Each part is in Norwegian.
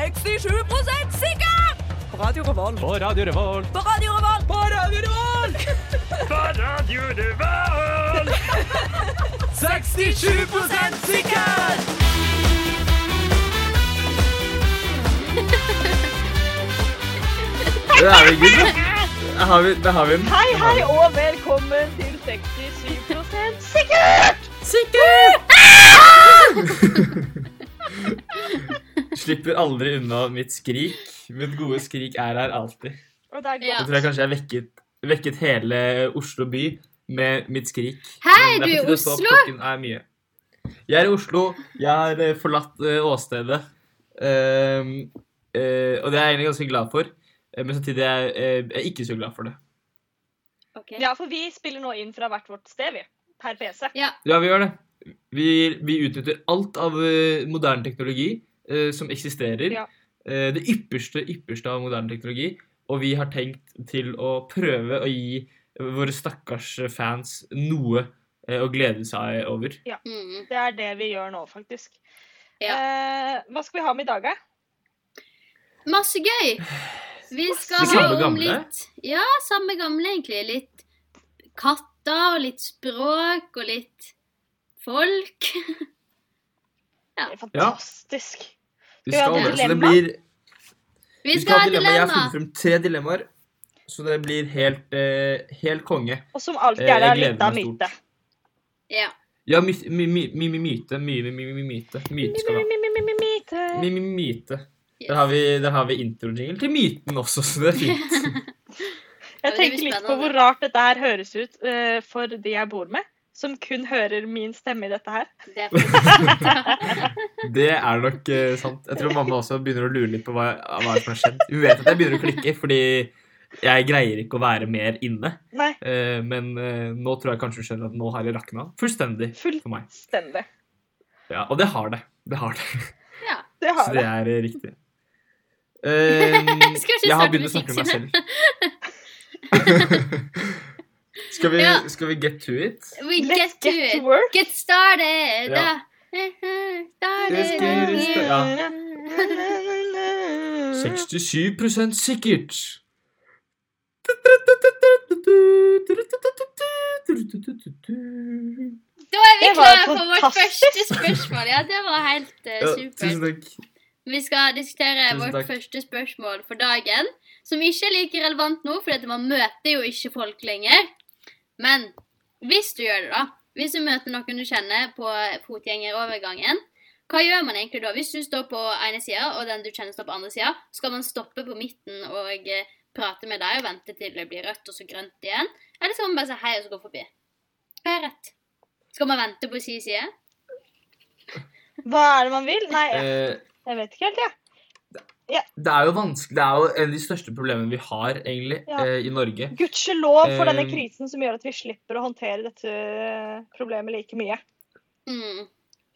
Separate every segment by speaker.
Speaker 1: 67 sikker! På Radio Revolt.
Speaker 2: På Radio Revolt.
Speaker 1: På Radio Revolt. På Radio Revolt!
Speaker 2: 67 sikker!
Speaker 3: Det er jo ikke det. Det har vi, det har vi.
Speaker 4: Hei, hei, og velkommen til 67 sikkert!
Speaker 3: Slipper aldri unna mitt skrik. Mitt gode skrik er her alltid.
Speaker 4: Og det er
Speaker 5: Ja.
Speaker 3: Jeg tror jeg kanskje jeg vekket, vekket hele Oslo by med mitt skrik.
Speaker 5: Hei,
Speaker 3: Men det
Speaker 5: du er
Speaker 3: på tide
Speaker 5: i
Speaker 3: å stå opp.
Speaker 5: Oslo?
Speaker 3: Klokken er mye. Jeg er i Oslo. Jeg har eh, forlatt eh, åstedet. Ehm, eh, og det er jeg egentlig ganske glad for. Eh, Men samtidig er jeg eh, jeg er ikke så glad for det.
Speaker 5: Ok.
Speaker 4: godt. Ja, for vi spiller nå inn fra hvert vårt sted, vi. Per PC.
Speaker 3: Ja, vi gjør det. Vi, vi utnytter alt av eh, moderne teknologi eh, som eksisterer.
Speaker 4: Ja.
Speaker 3: Eh, det ypperste, ypperste av moderne teknologi. Og vi har tenkt til å prøve å gi våre stakkars eh, fans noe eh, å glede seg over.
Speaker 5: Mm.
Speaker 4: Det er det vi gjør nå, faktisk.
Speaker 5: Ja.
Speaker 4: Eh, hva skal vi ha med i dag, da?
Speaker 5: Masse gøy! Vi skal
Speaker 3: Det samme
Speaker 5: ha om
Speaker 3: gamle?
Speaker 5: litt Ja, samme gamle, egentlig. Litt katter og litt språk og litt folk.
Speaker 4: Det er Fantastisk.
Speaker 3: Vi
Speaker 4: Skal vi ha
Speaker 3: skal
Speaker 4: et
Speaker 3: over, så det
Speaker 4: dilemma?
Speaker 3: blir,
Speaker 5: Vi skal ha et
Speaker 3: Jeg har
Speaker 5: dilemma.
Speaker 3: funnet frem tre dilemmaer, så det blir helt, eh, helt konge.
Speaker 4: Og som alltid
Speaker 3: Eh,
Speaker 4: er det
Speaker 3: jeg
Speaker 4: en
Speaker 3: gleder
Speaker 4: liten
Speaker 3: meg
Speaker 4: myte.
Speaker 5: Ja.
Speaker 3: Ja, my, my, my, my, my, myte. Mye my, my, my, myte. Myte skal vi ha.
Speaker 4: Mi-mi-mi-mi-mi-myte.
Speaker 3: My, my, myte. Der har vi, der har vi introjingle til myten også, så det er fint.
Speaker 4: Jeg
Speaker 5: det blir
Speaker 4: tenker litt på
Speaker 5: spennende.
Speaker 4: hvor rart dette her høres ut eh, for de jeg bor med, som kun hører min stemme i dette her.
Speaker 5: Det er faktisk-
Speaker 3: Det er nok eh, sant. Jeg tror mamma også begynner å lure litt på hva, hva som har skjedd. Hun vet at jeg begynner å klikke, fordi jeg greier ikke å være mer inne.
Speaker 4: Nei,
Speaker 3: Eh, men eh, nå tror jeg kanskje hun skjønner at nå har det rakna fullstendig for meg.
Speaker 4: fullstendig.
Speaker 3: Ja, og det har det. Det har det.
Speaker 5: ja.
Speaker 4: Det
Speaker 3: Så det
Speaker 4: har det.
Speaker 3: er eh, riktig. Eh,
Speaker 5: Skal vi ikke
Speaker 3: jeg har
Speaker 5: starte
Speaker 3: begynt å snakke med meg selv. skal, vi,
Speaker 5: Ja.
Speaker 3: skal vi get to it?
Speaker 5: We
Speaker 4: Let's
Speaker 5: get to
Speaker 4: get to
Speaker 5: it.
Speaker 4: work.
Speaker 5: Get started.
Speaker 3: Ja. Let's get it started.
Speaker 5: Started.
Speaker 3: Ja. 67 sikkert.
Speaker 5: Da er vi
Speaker 4: Det var
Speaker 5: klare for vårt
Speaker 4: fantastisk.
Speaker 5: første spørsmål. Ja, det var helt eh,
Speaker 3: Ja, tusen
Speaker 5: supert.
Speaker 3: takk.
Speaker 5: Vi skal diskutere
Speaker 3: Tusen
Speaker 5: vårt
Speaker 3: takk.
Speaker 5: første spørsmål for dagen, som ikke er like relevant nå, for man møter jo ikke folk lenger. Men hvis du gjør det, da Hvis du møter noen du kjenner på fotgjengerovergangen, hva gjør man egentlig da? Hvis du står på ene sida, og den du kjenner står på andre sida, skal man stoppe på midten og eh, prate med deg og vente til det blir rødt og så grønt igjen? Eller skal man bare si hei og så gå forbi? Hva er rett? Skal man vente på si side?
Speaker 4: Hva er det man vil? Nei, jeg,
Speaker 3: Eh,
Speaker 4: jeg vet ikke helt, jeg.
Speaker 3: Det er jo vanskelig, det er jo en av de største problemene vi har egentlig
Speaker 4: Ja.
Speaker 3: eh, i Norge.
Speaker 4: Gudskjelov for denne
Speaker 3: Eh,
Speaker 4: krisen som gjør at vi slipper å håndtere dette problemet like mye.
Speaker 5: Mm,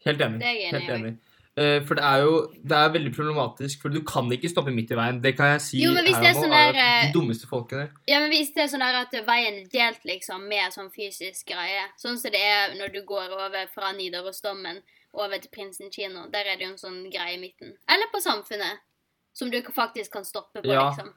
Speaker 3: Helt enig.
Speaker 5: Det er jeg enig
Speaker 3: helt
Speaker 5: i.
Speaker 3: enig. Eh, for det er jo det er veldig problematisk, for du kan ikke stoppe midt i veien. Det kan jeg si
Speaker 5: Jo, men hvis
Speaker 3: her
Speaker 5: det er
Speaker 3: og nå,
Speaker 5: sånn
Speaker 3: at
Speaker 5: der, eh,
Speaker 3: De dummeste folkene.
Speaker 5: Ja, men hvis det er sånn der at veien er delt liksom med sånn fysisk greie, sånn som det er når du går over fra Nidarosdommen over til Prinsen kino, der er det jo en sånn greie i midten. Eller på Samfunnet, som du faktisk kan stoppe på,
Speaker 3: Ja.
Speaker 5: liksom.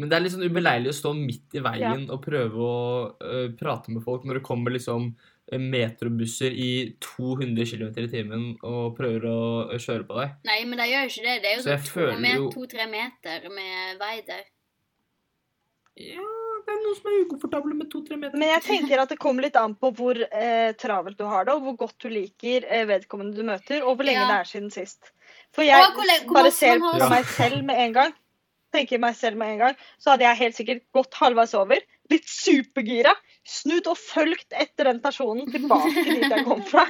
Speaker 3: Men det er litt sånn ubeleilig å stå midt i veien og prøve å eh, prate med folk når det kommer liksom eh, metrobusser i 200 km i timen og prøver å eh, kjøre på deg.
Speaker 5: Nei, men de gjør jo ikke det. Det er jo
Speaker 3: Så jeg
Speaker 5: sånn to-tre
Speaker 3: føler
Speaker 5: met
Speaker 3: jo-
Speaker 5: to, tre meter med vei der.
Speaker 3: Ja, det er noen som er ukomfortable med to-tre meter.
Speaker 4: Men jeg tenker at det kommer litt an på hvor eh, travelt du har det, og hvor godt du liker eh, vedkommende du møter, og hvor lenge
Speaker 5: Ja.
Speaker 4: det er siden sist. For jeg
Speaker 5: Og hvor le- hvor
Speaker 4: bare
Speaker 5: ofte
Speaker 4: ser
Speaker 5: man
Speaker 4: på
Speaker 5: har-
Speaker 3: Ja.
Speaker 4: meg selv med en gang, tenker meg selv med en gang, så hadde jeg helt sikkert gått halvveis over, blitt supergira, snudd og fulgt etter den personen tilbake dit jeg kom fra,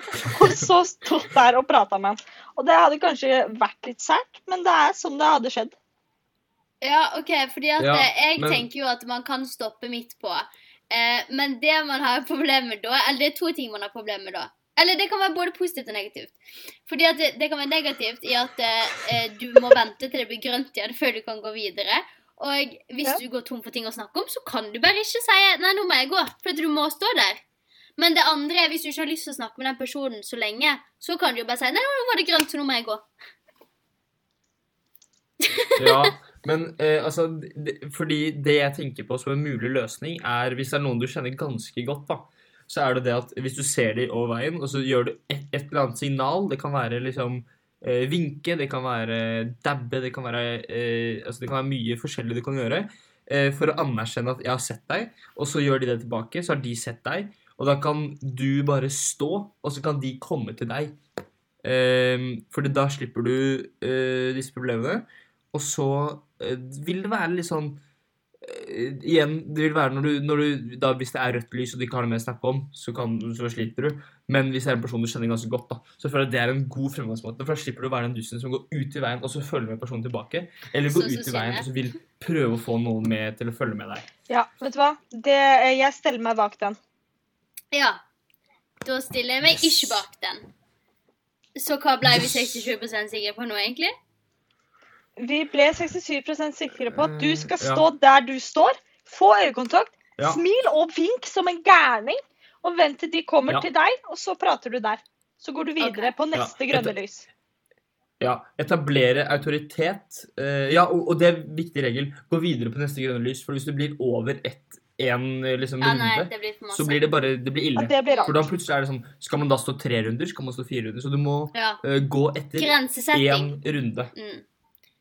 Speaker 4: og så stått der og prata med han. Og det hadde kanskje vært litt sært, men det er som det hadde skjedd.
Speaker 5: Ja, ok, fordi at
Speaker 3: Ja,
Speaker 5: eh, jeg
Speaker 3: men-
Speaker 5: tenker jo at man kan stoppe midt på. Eh, men det man har problemer med da, eller det er to ting man har problemer med da. Eller det kan være både positivt og negativt. Fordi at det, det kan være negativt i at eh, eh, du må vente til det blir grønt igjen før du kan gå videre. Og hvis
Speaker 4: Ja.
Speaker 5: du går tom for ting å snakke om, så kan du bare ikke si nei, nå må jeg gå, for at du må stå der. Men det andre er hvis du ikke har lyst til å snakke med den personen så lenge, så kan du jo bare si nei, nå var det grønt, så nå må jeg gå.
Speaker 3: Ja, men eh, altså det, Fordi det jeg tenker på som en mulig løsning, er hvis det er noen du kjenner ganske godt, da, så er det det at hvis du ser dem over veien, og så gjør du et, et eller annet signal Det kan være liksom eh, vinke, det kan være dabbe, det kan være eh, Altså det kan være mye forskjellig du kan gjøre eh, for å anerkjenne at 'jeg har sett deg', og så gjør de det tilbake, så har de sett deg, og da kan du bare stå, og så kan de komme til deg. Eh, for da slipper du eh, disse problemene. Og så eh, vil det være litt sånn eh, Igjen, det vil være når du, når du da, Hvis det er rødt lys og du ikke har noe mer å snakke om, så, kan, så sliter du. Men hvis det er en person du kjenner ganske godt, da, så føler jeg at det er en god fremgangsmåte. For da slipper du å være den dusten som går ut i veien, og så følger med personen tilbake. Eller
Speaker 5: Sånn
Speaker 3: går
Speaker 5: som
Speaker 3: ut i veien
Speaker 5: Synne.
Speaker 3: og så vil prøve å få noen med til å følge med deg.
Speaker 4: Ja, vet du hva? Det, eh, jeg steller meg bak den.
Speaker 5: Ja. Da stiller jeg meg
Speaker 3: Yes.
Speaker 5: ikke bak den. Så hva ble vi
Speaker 3: Yes.
Speaker 5: 67 sikre på nå, egentlig?
Speaker 4: Vi ble 67 sikre på at du skal
Speaker 3: Eh, ja.
Speaker 4: stå der du står, få øyekontakt,
Speaker 3: Ja.
Speaker 4: smil og vink som en gærning, og vent til de kommer
Speaker 3: Ja.
Speaker 4: til deg, og så prater du der. Så går du videre på neste
Speaker 3: Ja,
Speaker 4: grønne lys.
Speaker 3: Ja, Etablere autoritet. Eh, ja, og, og det er en viktig regel. Gå videre på neste grønne lys, for hvis du blir over ett, en eh, liksom,
Speaker 5: Ja, nei,
Speaker 3: runde,
Speaker 5: det blir for masse.
Speaker 3: så blir det bare det blir ille.
Speaker 4: Ja, det blir
Speaker 3: For
Speaker 4: rart.
Speaker 3: da plutselig er det sånn Skal man da stå tre runder? Skal man stå fire runder? Så du må
Speaker 5: Ja.
Speaker 3: eh, gå etter én
Speaker 5: Grensesetting.
Speaker 3: runde.
Speaker 5: Mm.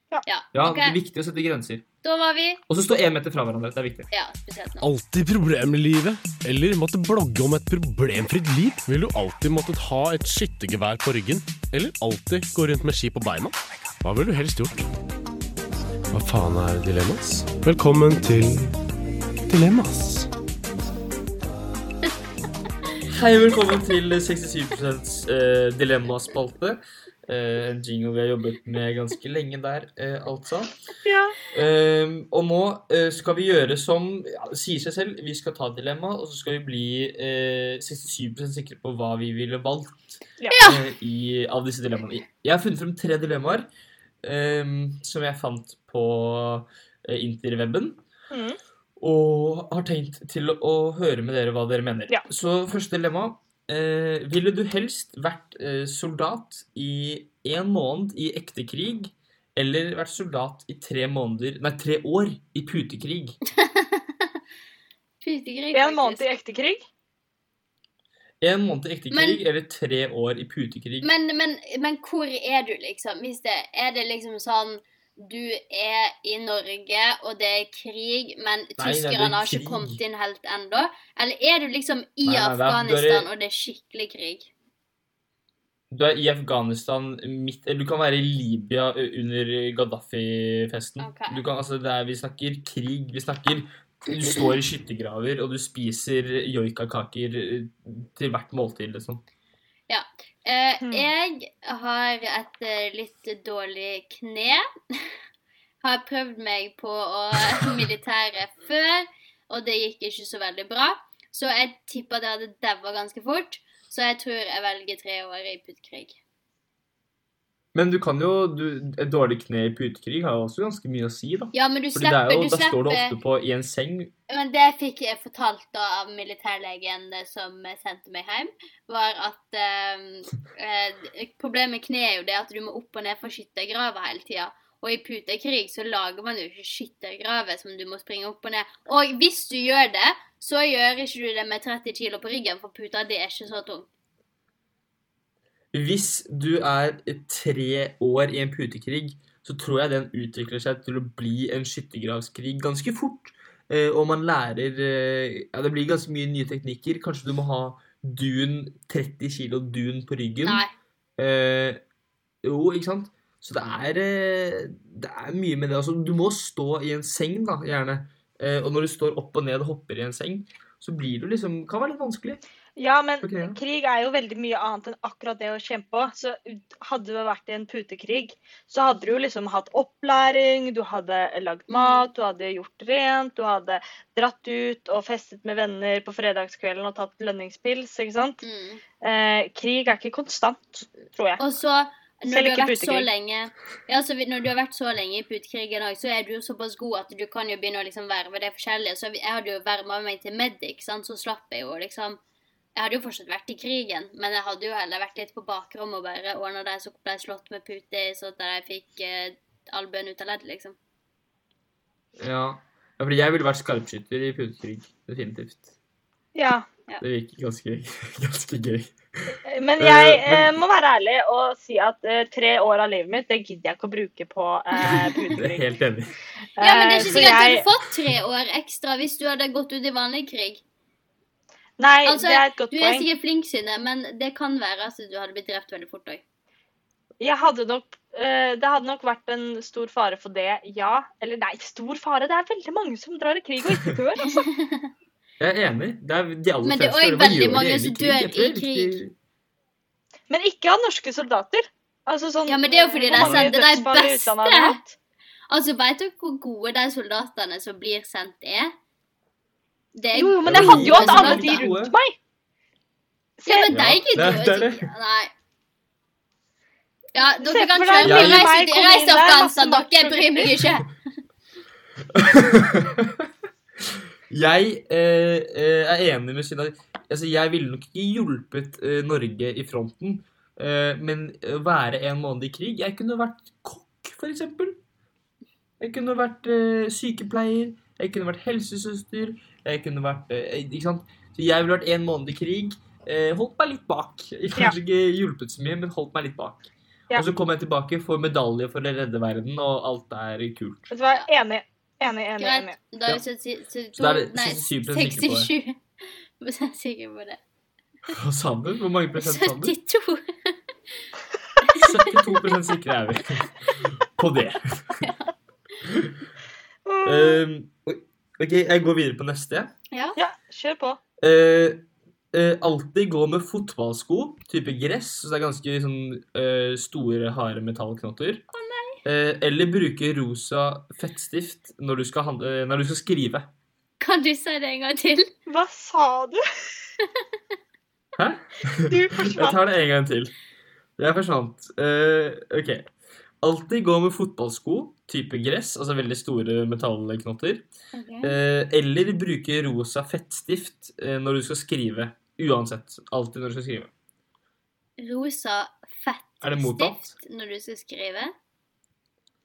Speaker 4: Ja.
Speaker 5: Ja,
Speaker 3: Ja,
Speaker 5: ok.
Speaker 3: Det er viktig å sette grenser.
Speaker 5: Da var vi
Speaker 3: Og så stå én meter fra hverandre. Det er viktig.
Speaker 5: Ja, spesielt nå.
Speaker 2: Alltid problemer i livet? Eller måtte blogge om et problemfritt liv? Vil du alltid måttet ha et skyttergevær på ryggen? Eller alltid gå rundt med ski på beina? Hva ville du helst gjort? Hva faen er dilemmas? Velkommen til Dilemmas.
Speaker 3: Hei, velkommen til 67 eh, dilemmaspalte. Eh, en jingle vi har jobbet med ganske lenge der, eh, altså. Eh, og nå eh, skal vi gjøre som ja, det sier seg selv. Vi skal ta et dilemma, og så skal vi bli eh, 67 sikre på hva vi ville valgt
Speaker 4: Ja.
Speaker 3: eh, i, av disse dilemmaene. Jeg har funnet frem tre dilemmaer eh, som jeg fant på eh, interweben.
Speaker 4: Mhm.
Speaker 3: Og har tenkt til å høre med dere hva dere mener.
Speaker 4: Ja.
Speaker 3: Så første dilemma. Eh, ville du helst vært eh, soldat i én måned i ekte krig, eller vært soldat i tre måneder Nei, tre år i putekrig?
Speaker 5: Putegryt,
Speaker 4: En måned
Speaker 5: faktisk.
Speaker 4: i ekte krig.
Speaker 3: Én måned i ekte
Speaker 5: Men-
Speaker 3: krig eller tre år i putekrig?
Speaker 5: Men, men, men hvor er du, liksom? Hvis det, er det liksom sånn du er i Norge, og det er krig, men
Speaker 3: nei, det er
Speaker 5: tyskerne har
Speaker 3: krig.
Speaker 5: ikke kommet inn helt ennå? Eller er du liksom i
Speaker 3: Nei, nei, det er-
Speaker 5: Afghanistan,
Speaker 3: dere-
Speaker 5: og det er skikkelig krig?
Speaker 3: Du er i Afghanistan midt Eller du kan være i Libya ø, under Gaddafi-festen.
Speaker 5: Ok.
Speaker 3: Du kan, altså, det er, vi snakker krig. Vi snakker Du står i skyttergraver, og du spiser joikakaker ø, til hvert måltid, liksom.
Speaker 5: Eh,
Speaker 4: Hmm.
Speaker 5: jeg har et eh, litt dårlig kne. Har prøvd meg på å militæret før, og det gikk ikke så veldig bra. Så jeg tipper det hadde daua ganske fort, så jeg tror jeg velger tre år i puttkrig.
Speaker 3: Men du kan jo du, Et dårlig kne i putekrig har jo også ganske mye å si, da.
Speaker 5: Ja, men du
Speaker 3: Fordi det
Speaker 5: slipper,
Speaker 3: er jo,
Speaker 5: du
Speaker 3: Da står du
Speaker 5: slipper
Speaker 3: ofte på i en seng.
Speaker 5: Men det fikk jeg fortalt da av militærlegen eh, som eh, sendte meg hjem, var at eh, eh, Problemet med kne er jo det at du må opp og ned fra skyttergraver hele tida. Og i putekrig så lager man jo ikke skyttergraver som du må springe opp og ned. Og hvis du gjør det, så gjør ikke du det med 30 kilo på ryggen, for puta di er ikke så tung.
Speaker 3: Hvis du er tre år i en putekrig, så tror jeg den utvikler seg til å bli en skyttergravskrig ganske fort. Eh, og man lærer eh, ja, Det blir ganske mye nye teknikker. Kanskje du må ha dun 30 kilo dun på ryggen.
Speaker 5: Nei.
Speaker 3: Eh, jo, ikke sant? Så det er, eh, det er mye med det. Altså, du må stå i en seng, da, gjerne. Eh, og når du står opp og ned og hopper i en seng, så blir du liksom Kan være litt vanskelig.
Speaker 4: Ja, men
Speaker 3: Ok, ja.
Speaker 4: krig er jo veldig mye annet enn akkurat det å kjempe òg. Så hadde du vært i en putekrig, så hadde du jo liksom hatt opplæring, du hadde
Speaker 5: Mm.
Speaker 4: lagd mat, du hadde gjort rent, du hadde dratt ut og festet med venner på fredagskvelden og tatt lønningspils, ikke sant?
Speaker 5: Mm.
Speaker 4: Eh, krig er ikke konstant, tror jeg.
Speaker 5: Og så,
Speaker 4: Selv
Speaker 5: når du, har
Speaker 4: ikke
Speaker 5: vært så
Speaker 4: putekrig.
Speaker 5: lenge, ja, så vi- når du har vært så lenge i putekrigen òg, så er du jo såpass god at du kan jo begynne å liksom verve det forskjellige. Så vi- jeg hadde jo verva meg til medic, sant? så slapp jeg jo liksom Jeg hadde jo fortsatt vært i krigen, men jeg hadde jo heller vært litt på bakrommet og bare ordna de som ble slått med pute, så at de fikk eh, skutt albuen ut av ledd, liksom.
Speaker 3: Ja. ja fordi jeg ville vært skarpskytter i putekrig. Definitivt.
Speaker 4: Ja.
Speaker 3: Det virker ganske, ganske gøy.
Speaker 4: Men jeg eh,
Speaker 3: Eh, men-
Speaker 4: må være ærlig og si at eh, tre år av livet mitt, det gidder jeg ikke å bruke på eh,
Speaker 3: Jeg er
Speaker 4: putebrygg.
Speaker 3: helt enig.
Speaker 5: Ja, men det er
Speaker 4: Eh,
Speaker 5: ikke
Speaker 4: så
Speaker 5: sikkert at du
Speaker 4: jeg-
Speaker 5: hadde fått tre år ekstra hvis du hadde gått ut i vanlig krig.
Speaker 4: Nei,
Speaker 5: Altså,
Speaker 4: det er et godt
Speaker 5: Du er
Speaker 4: poeng.
Speaker 5: sikkert flink, Synne, men det kan være at du hadde blitt drept veldig fort òg.
Speaker 4: Jeg hadde nok, eh, det hadde nok vært en stor fare for det, ja. Eller nei, stor fare. Det er veldig mange som drar i krig og ikke dør. Altså.
Speaker 3: Jeg er enig. Det er de aller
Speaker 5: Men det er
Speaker 3: fleste.
Speaker 5: også
Speaker 3: Hva
Speaker 5: veldig
Speaker 3: gjør de
Speaker 5: mange
Speaker 3: egentlig i
Speaker 5: som
Speaker 3: krig?
Speaker 5: dør
Speaker 3: Jeg tror
Speaker 5: i
Speaker 3: det er
Speaker 5: krig.
Speaker 3: viktig-
Speaker 4: Men ikke av norske soldater. Altså, sånn,
Speaker 5: Ja, men det er jo fordi
Speaker 4: hvor
Speaker 5: det er
Speaker 4: mange
Speaker 5: sant, det er de
Speaker 4: dødsfall i
Speaker 5: beste.
Speaker 4: utlandet har vi hatt?
Speaker 5: Altså, veit dere hvor gode de soldatene som blir sendt, er? Det er
Speaker 4: Jo, jo, men
Speaker 3: Det
Speaker 4: jeg
Speaker 3: er
Speaker 4: hadde
Speaker 3: jo
Speaker 4: jo hatt alle de
Speaker 5: soldater.
Speaker 4: rundt meg. Se,
Speaker 5: Ja, men
Speaker 3: Ja,
Speaker 5: de gidder jo
Speaker 3: det er det.
Speaker 5: ikke. Nei. Ja,
Speaker 4: Se
Speaker 5: dere
Speaker 4: for
Speaker 5: kan
Speaker 4: deg
Speaker 5: kjøre.
Speaker 3: lille
Speaker 5: Reis
Speaker 4: meg
Speaker 5: ut i
Speaker 4: kom
Speaker 5: reis
Speaker 4: inn
Speaker 5: til
Speaker 4: der,
Speaker 5: Afghanistan,
Speaker 4: masse
Speaker 5: dere. Jeg bryr meg ikke.
Speaker 3: Jeg eh, eh, er enig med Synne. Altså, jeg ville nok ikke hjulpet eh, Norge i fronten, eh, men å være en måned i krig Jeg kunne vært kokk, for eksempel. Jeg kunne vært eh, sykepleier. Jeg kunne vært helsesøster. Jeg kunne vært eh, Ikke sant? Så jeg ville vært en måned i krig. Eh, holdt meg litt bak. Jeg
Speaker 4: Ja.
Speaker 3: Kanskje ikke hjulpet så mye, men holdt meg litt bak.
Speaker 4: Ja.
Speaker 3: Og så kom jeg tilbake, får medalje for å redde verden, og alt er kult.
Speaker 4: Vet du hva, enig. Enig, enig,
Speaker 5: Greit.
Speaker 4: enig.
Speaker 5: Da er
Speaker 3: Ja.
Speaker 5: vi 72
Speaker 3: Så da er det
Speaker 5: Nei,
Speaker 3: 67% sikre på det.
Speaker 5: 67 prosent sikre på det.
Speaker 3: Og sammen, hvor mange prosent sammen?
Speaker 5: 72
Speaker 3: 72 sikre er vi på det. Ehm, ok, jeg går videre på neste.
Speaker 5: Ja.
Speaker 4: Ja, kjør på.
Speaker 3: Uh, alltid gå med fotballsko, type gress, så det er ganske sånn, eh, store, harde metallknotter. Eh, eller bruke rosa fettstift når du skal, hand- eh, når du skal skrive.
Speaker 5: Kan du si det en gang til?
Speaker 4: Hva sa du?
Speaker 3: Hæ?
Speaker 4: Du
Speaker 3: Jeg
Speaker 4: forsvant.
Speaker 3: tar det en gang til. Jeg forsvant. Eh, ok. Alltid gå med fotballsko, type gress, altså veldig store metallknotter. Eh, eller bruke rosa fettstift eh, når du skal skrive. Uansett. Alltid når du skal skrive.
Speaker 5: Rosa
Speaker 3: Er det mottatt?
Speaker 5: fettstift når du skal skrive.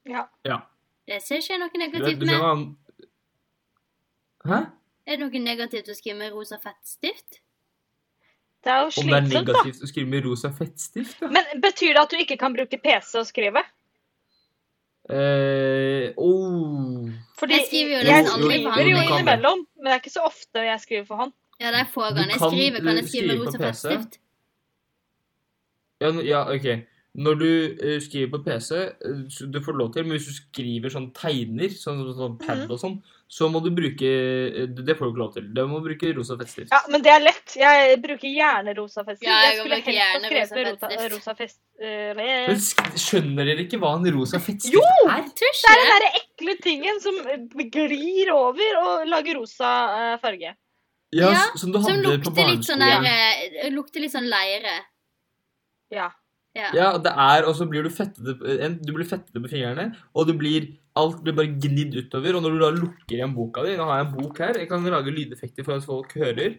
Speaker 4: Ja.
Speaker 3: Ja.
Speaker 5: Det ser ikke jeg noe
Speaker 3: Du, vet-
Speaker 5: negativt
Speaker 3: du skjønner
Speaker 5: med.
Speaker 3: hva han Hæ?
Speaker 5: Er det noe negativt å skrive med rosa fettstift?
Speaker 4: Det er jo
Speaker 3: Om det er
Speaker 4: slitsomt, da.
Speaker 3: negativt å skrive med rosa fettstift, da?
Speaker 4: Men betyr det at du ikke kan bruke PC og skrive?
Speaker 3: Eh, oh.
Speaker 4: Fordi
Speaker 5: Jeg skriver jo
Speaker 4: jeg
Speaker 5: nesten aldri for hånd.
Speaker 4: skriver jo
Speaker 5: Du kan det.
Speaker 4: innimellom, men det er ikke så ofte jeg skriver for hånd.
Speaker 5: Ja, de få
Speaker 3: Du
Speaker 5: gangene jeg
Speaker 3: kan,
Speaker 5: skriver, kan jeg
Speaker 3: eh,
Speaker 5: skrive med
Speaker 3: skrive på
Speaker 5: rosa
Speaker 3: PC.
Speaker 5: fettstift.
Speaker 3: Ja, n- ja, ok. Når du eh, skriver på PC, eh, så du får lov til, men hvis du skriver sånn tegner, sånn, sånn, sånn
Speaker 4: Mhm.
Speaker 3: pad og sånn, så må du bruke eh, Det det får du ikke lov til. Du må bruke rosa fettstift.
Speaker 4: Ja, men det er lett. Jeg bruker gjerne rosa fest.
Speaker 5: Ja, jeg
Speaker 4: jeg skulle
Speaker 5: bruker
Speaker 4: helst ha
Speaker 5: gjerne
Speaker 4: skrevet
Speaker 5: rosa
Speaker 4: rosa,
Speaker 5: feststift.
Speaker 4: rosa fest...
Speaker 3: Men
Speaker 4: eh,
Speaker 3: sk- skjønner dere ikke hva en rosa fettstift
Speaker 4: Jo!
Speaker 5: Jeg
Speaker 3: er?
Speaker 5: tror ikke
Speaker 4: Det er den
Speaker 5: det.
Speaker 4: derre ekle tingen som glir over og lager rosa eh, farge.
Speaker 3: Ja,
Speaker 5: Ja,
Speaker 3: s- som du
Speaker 5: Som
Speaker 3: hadde på
Speaker 5: lukter litt sånn der
Speaker 3: barneskolen.
Speaker 5: eh, Lukter litt sånn leire.
Speaker 4: Ja.
Speaker 5: Ja.
Speaker 3: Ja, det er, og så blir du fettete på- en- Du blir fettete på fingrene, og du blir Alt blir bare gnidd utover, og når du da lukker igjen boka di Nå har jeg en bok her, jeg kan lage lydeffekter for at folk hører.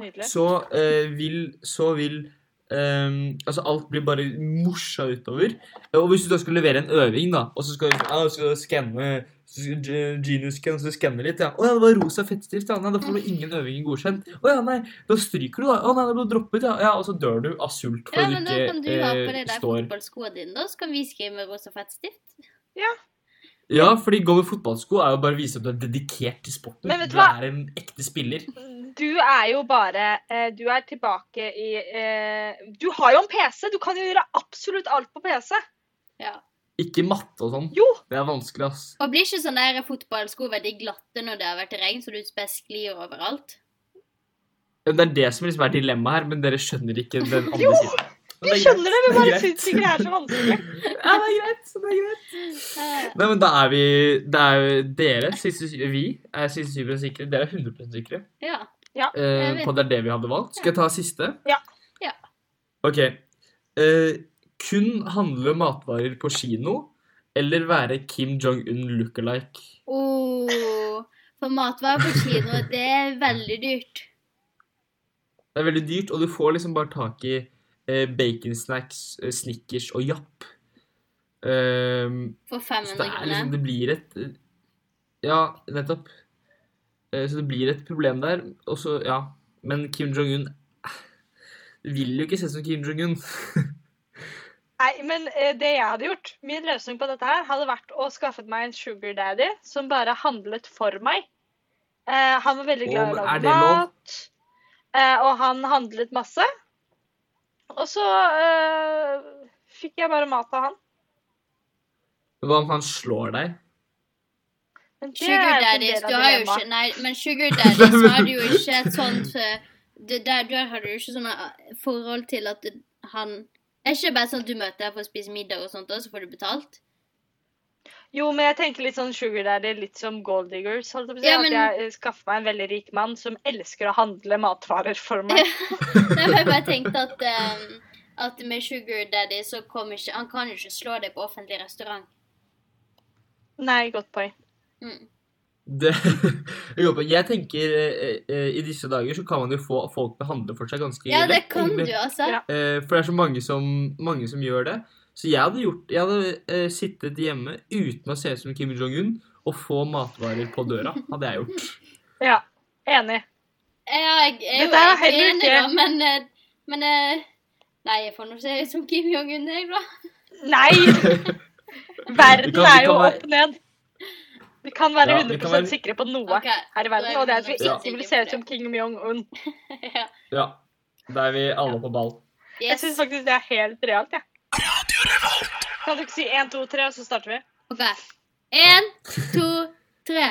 Speaker 4: Nydelig.
Speaker 3: Så eh, vil Så vil ehm, altså Alt blir bare morsa utover. Og hvis du da skal levere en øving, da, og så skal du ja, skal du skanne så skal Ge- Genius Scan, så skanner litt. Ja. 'Å ja, det var rosa fettstift.' Ja, nei, da får du ingen øvinger godkjent. 'Å ja, nei, da stryker du, da.' 'Å nei, det ble droppet', ja. ja. Og så dør du av sult fordi
Speaker 5: Ja, men da kan
Speaker 3: du
Speaker 5: du ha på
Speaker 3: ikke
Speaker 5: deg
Speaker 3: eh,
Speaker 5: de
Speaker 3: står
Speaker 5: fotballskoene dine, da. Så kan vi skrive med rosa fettstift.
Speaker 3: Ja, fordi gå med fotballsko er jo bare å vise at du er dedikert til sporten.
Speaker 4: Men vet du
Speaker 3: du
Speaker 4: hva?
Speaker 3: er en ekte spiller.
Speaker 4: Du er jo bare eh, Du er tilbake i eh, Du har jo en PC! Du kan jo gjøre absolutt alt på PC.
Speaker 5: Ja.
Speaker 3: Ikke matte og sånn.
Speaker 4: Jo!
Speaker 3: Det er vanskelig, ass.
Speaker 5: Og blir ikke sånne der fotballsko veldig glatte når det har vært regn, så du bare sklir overalt?
Speaker 3: Men Det er det som liksom er dilemmaet her, men dere skjønner ikke den andre siden. Men
Speaker 4: Vi
Speaker 3: det er
Speaker 4: skjønner det, vi
Speaker 3: greit.
Speaker 4: bare
Speaker 3: er greit.
Speaker 4: syns ikke det er så vanskelig.
Speaker 3: Ja, det er greit. det er greit.
Speaker 5: Eh,
Speaker 3: Nei, men da er vi Det er jo dere, siste, sy- vi, er siste syv prosent sikre. Dere er 100 sikre
Speaker 5: Ja. Jeg
Speaker 3: eh,
Speaker 5: vet.
Speaker 3: på at det er det vi hadde valgt. Skal jeg ta siste?
Speaker 4: Ja.
Speaker 5: Ja.
Speaker 3: OK. Eh, kun handle matvarer på kino eller være Kim Jong-un look-alike?
Speaker 5: Oh, for matvarer på kino, det er veldig dyrt.
Speaker 3: Det er veldig dyrt, og du får liksom bare tak i eh, baconsnacks, eh, snickers og japp. Ehm,
Speaker 5: For
Speaker 3: så det
Speaker 5: 500
Speaker 3: er liksom
Speaker 5: kroner.
Speaker 3: Det blir et Ja, nettopp. Eh, Så det blir et problem der. Og så, ja Men Kim Jong-un eh, Det vil jo ikke se ut som Kim Jong-un.
Speaker 4: Nei, men eh, det jeg hadde gjort, min løsning på dette her, hadde vært å skaffe meg en sugar daddy som bare handlet for meg. Eh, han var veldig glad i å
Speaker 3: Og er
Speaker 4: lage
Speaker 3: det lov?
Speaker 4: mat, eh, og han handlet masse. Og så eh, fikk jeg bare mat av han.
Speaker 3: Hva om han slår deg?
Speaker 4: Men det er jo
Speaker 5: Sugar
Speaker 4: en
Speaker 5: daddies,
Speaker 4: del av
Speaker 5: du har jo
Speaker 4: dilemmaet.
Speaker 5: ikke Nei, men sugar daddies har du jo ikke et sånt eh, det, der, der har du jo ikke sånne eh, forhold til at du- han Er ikke det bare sånn at du møter her for å spise middag og sånt, og så får du betalt?
Speaker 4: Jo, men jeg tenker litt sånn sugar daddy, litt som gold diggers. Holdt jeg på å si,
Speaker 5: Ja, men-
Speaker 4: At jeg eh, skaffer meg en veldig rik mann som elsker å handle matvarer for meg.
Speaker 5: Nei, men jeg bare tenkte at eh, At med sugar daddy så kommer ikke Han kan jo ikke slå deg på offentlig restaurant.
Speaker 4: Nei, godt poeng.
Speaker 5: Mm.
Speaker 3: Det, jeg, håper, jeg tenker eh, eh, I disse dager så kan man jo få folk til å handle for seg ganske
Speaker 5: Ja, det
Speaker 3: lett,
Speaker 5: kan
Speaker 3: egentlig.
Speaker 5: du, altså.
Speaker 4: Ja.
Speaker 3: Eh, For det er så mange som, mange som gjør det. Så jeg hadde, gjort, jeg hadde eh, sittet hjemme uten å se ut som Kim Jong-un og få matvarer på døra. Hadde jeg gjort.
Speaker 4: Ja, enig.
Speaker 5: Jeg er jo
Speaker 4: Dette er
Speaker 5: egentlig
Speaker 4: heller
Speaker 5: enig,
Speaker 4: ikke-
Speaker 5: da, men, eh, men eh, Nei, jeg får nå se ut som Kim Jong-un, jeg, da.
Speaker 4: Nei!
Speaker 3: Vi
Speaker 4: Verden
Speaker 3: kan- vi
Speaker 4: er jo
Speaker 3: kan være-
Speaker 4: opp ned. Vi kan være
Speaker 3: Ja, vi kan
Speaker 4: 100
Speaker 3: være-
Speaker 4: sikre på noe
Speaker 5: Ok,
Speaker 4: her i verden,
Speaker 5: da er
Speaker 4: og det er at vi
Speaker 5: vi
Speaker 4: ikke
Speaker 5: 100% sikre
Speaker 4: vil
Speaker 5: på
Speaker 4: se ut
Speaker 5: det.
Speaker 4: som King Myong-un.
Speaker 5: ja.
Speaker 3: Ja, Da er vi alle på ball.
Speaker 4: Jeg
Speaker 5: Yes.
Speaker 4: syns faktisk det er helt realt, jeg. Kan du ikke si 1, 2, 3, og så starter vi?
Speaker 5: Ok. En, to, tre.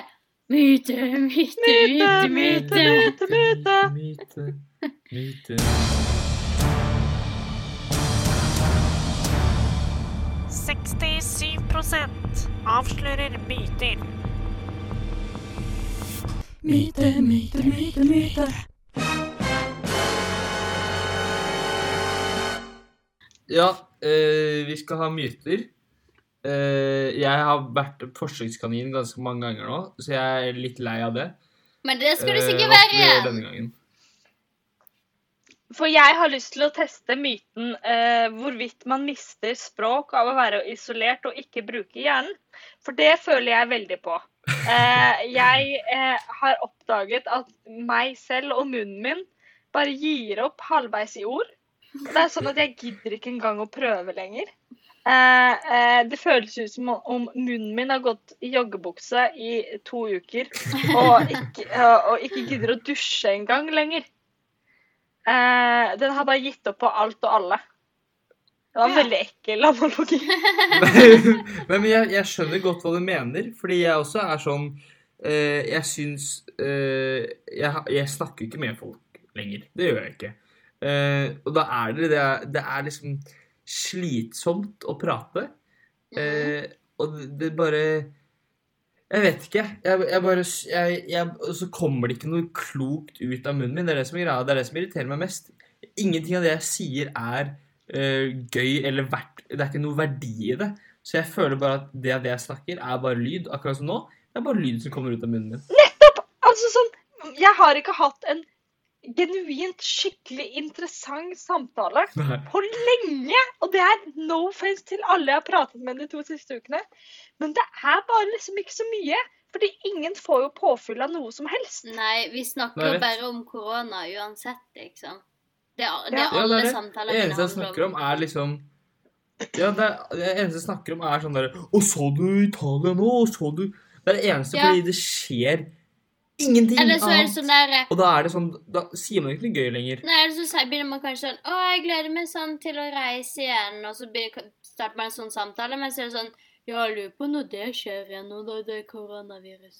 Speaker 5: Myte, myte, myte, myte.
Speaker 4: myte, myte.
Speaker 3: myte, myte.
Speaker 6: avslører myter.
Speaker 7: Myte, myte, myte, myte.
Speaker 3: Ja, eh, vi skal ha myter. Eh, jeg har vært forsøkskanin ganske mange ganger nå, så jeg er litt lei av det.
Speaker 5: Men det skal du
Speaker 3: Eh,
Speaker 5: sikkert
Speaker 3: hva
Speaker 5: være
Speaker 3: skal vi gjøre
Speaker 5: igjen.
Speaker 3: denne gangen?
Speaker 4: For jeg har lyst til å teste myten eh, hvorvidt man mister språk av å være isolert og ikke bruke hjernen. For det føler jeg veldig på. Eh, jeg eh, har oppdaget at meg selv og munnen min bare gir opp halvveis i ord. Det er sånn at jeg gidder ikke engang å prøve lenger. Eh, eh, det føles ut som om munnen min har gått i joggebukse i to uker og ikke, eh, og ikke gidder å dusje engang lenger. Eh, den har bare gitt opp på alt og alle. Det var en
Speaker 5: Ja.
Speaker 4: veldig ekkel analogi.
Speaker 3: Nei, men jeg, jeg skjønner godt hva du mener, fordi jeg også er sånn eh, Jeg syns eh, jeg, ha- jeg snakker ikke med folk lenger. Det gjør jeg ikke. Eh, og da er det det er, det er liksom slitsomt å prate. Eh, og det, det bare Jeg vet ikke. Jeg, jeg bare s- jeg, jeg, Og så kommer det ikke noe klokt ut av munnen min. Det er det som, er greia. det er det som irriterer meg mest. Ingenting av det jeg sier, er eh, gøy eller verdt Det er ikke noe verdi i det. Så jeg føler bare at det, det jeg snakker, er bare lyd. Akkurat som nå. Det er bare lyd som kommer ut av munnen min.
Speaker 4: Altså sånn, Jeg har ikke hatt en genuint skikkelig interessant samtale
Speaker 3: Nei.
Speaker 4: på lenge. Og det er no face til alle jeg har pratet med de to siste ukene. Men det er bare liksom ikke så mye. Fordi ingen får jo påfyll av noe som helst.
Speaker 5: Nei, vi snakker
Speaker 3: Nei,
Speaker 5: jo
Speaker 3: vet.
Speaker 5: bare om korona uansett, liksom. Det er, det
Speaker 4: Ja.
Speaker 5: er
Speaker 3: Ja,
Speaker 5: alle
Speaker 3: det er det.
Speaker 5: samtaler
Speaker 3: Det eneste jeg snakker om, er liksom Ja, det, er, det eneste jeg snakker om, er sånn derre Å, så du Italia nå? Å, så du Det er det eneste,
Speaker 5: Ja.
Speaker 3: fordi det skjer ingenting
Speaker 5: Eller så er det sånn derre
Speaker 3: Og da er det sånn Da sier man ikke noe gøy lenger.
Speaker 5: Nei, eller så sier- begynner man kanskje sånn Å, jeg gleder meg sånn til å reise igjen. Og så begynner, starter man en sånn samtale, men så er det sånn Ja, jeg lurer på når det skjer igjen, nå da det er koronavirus.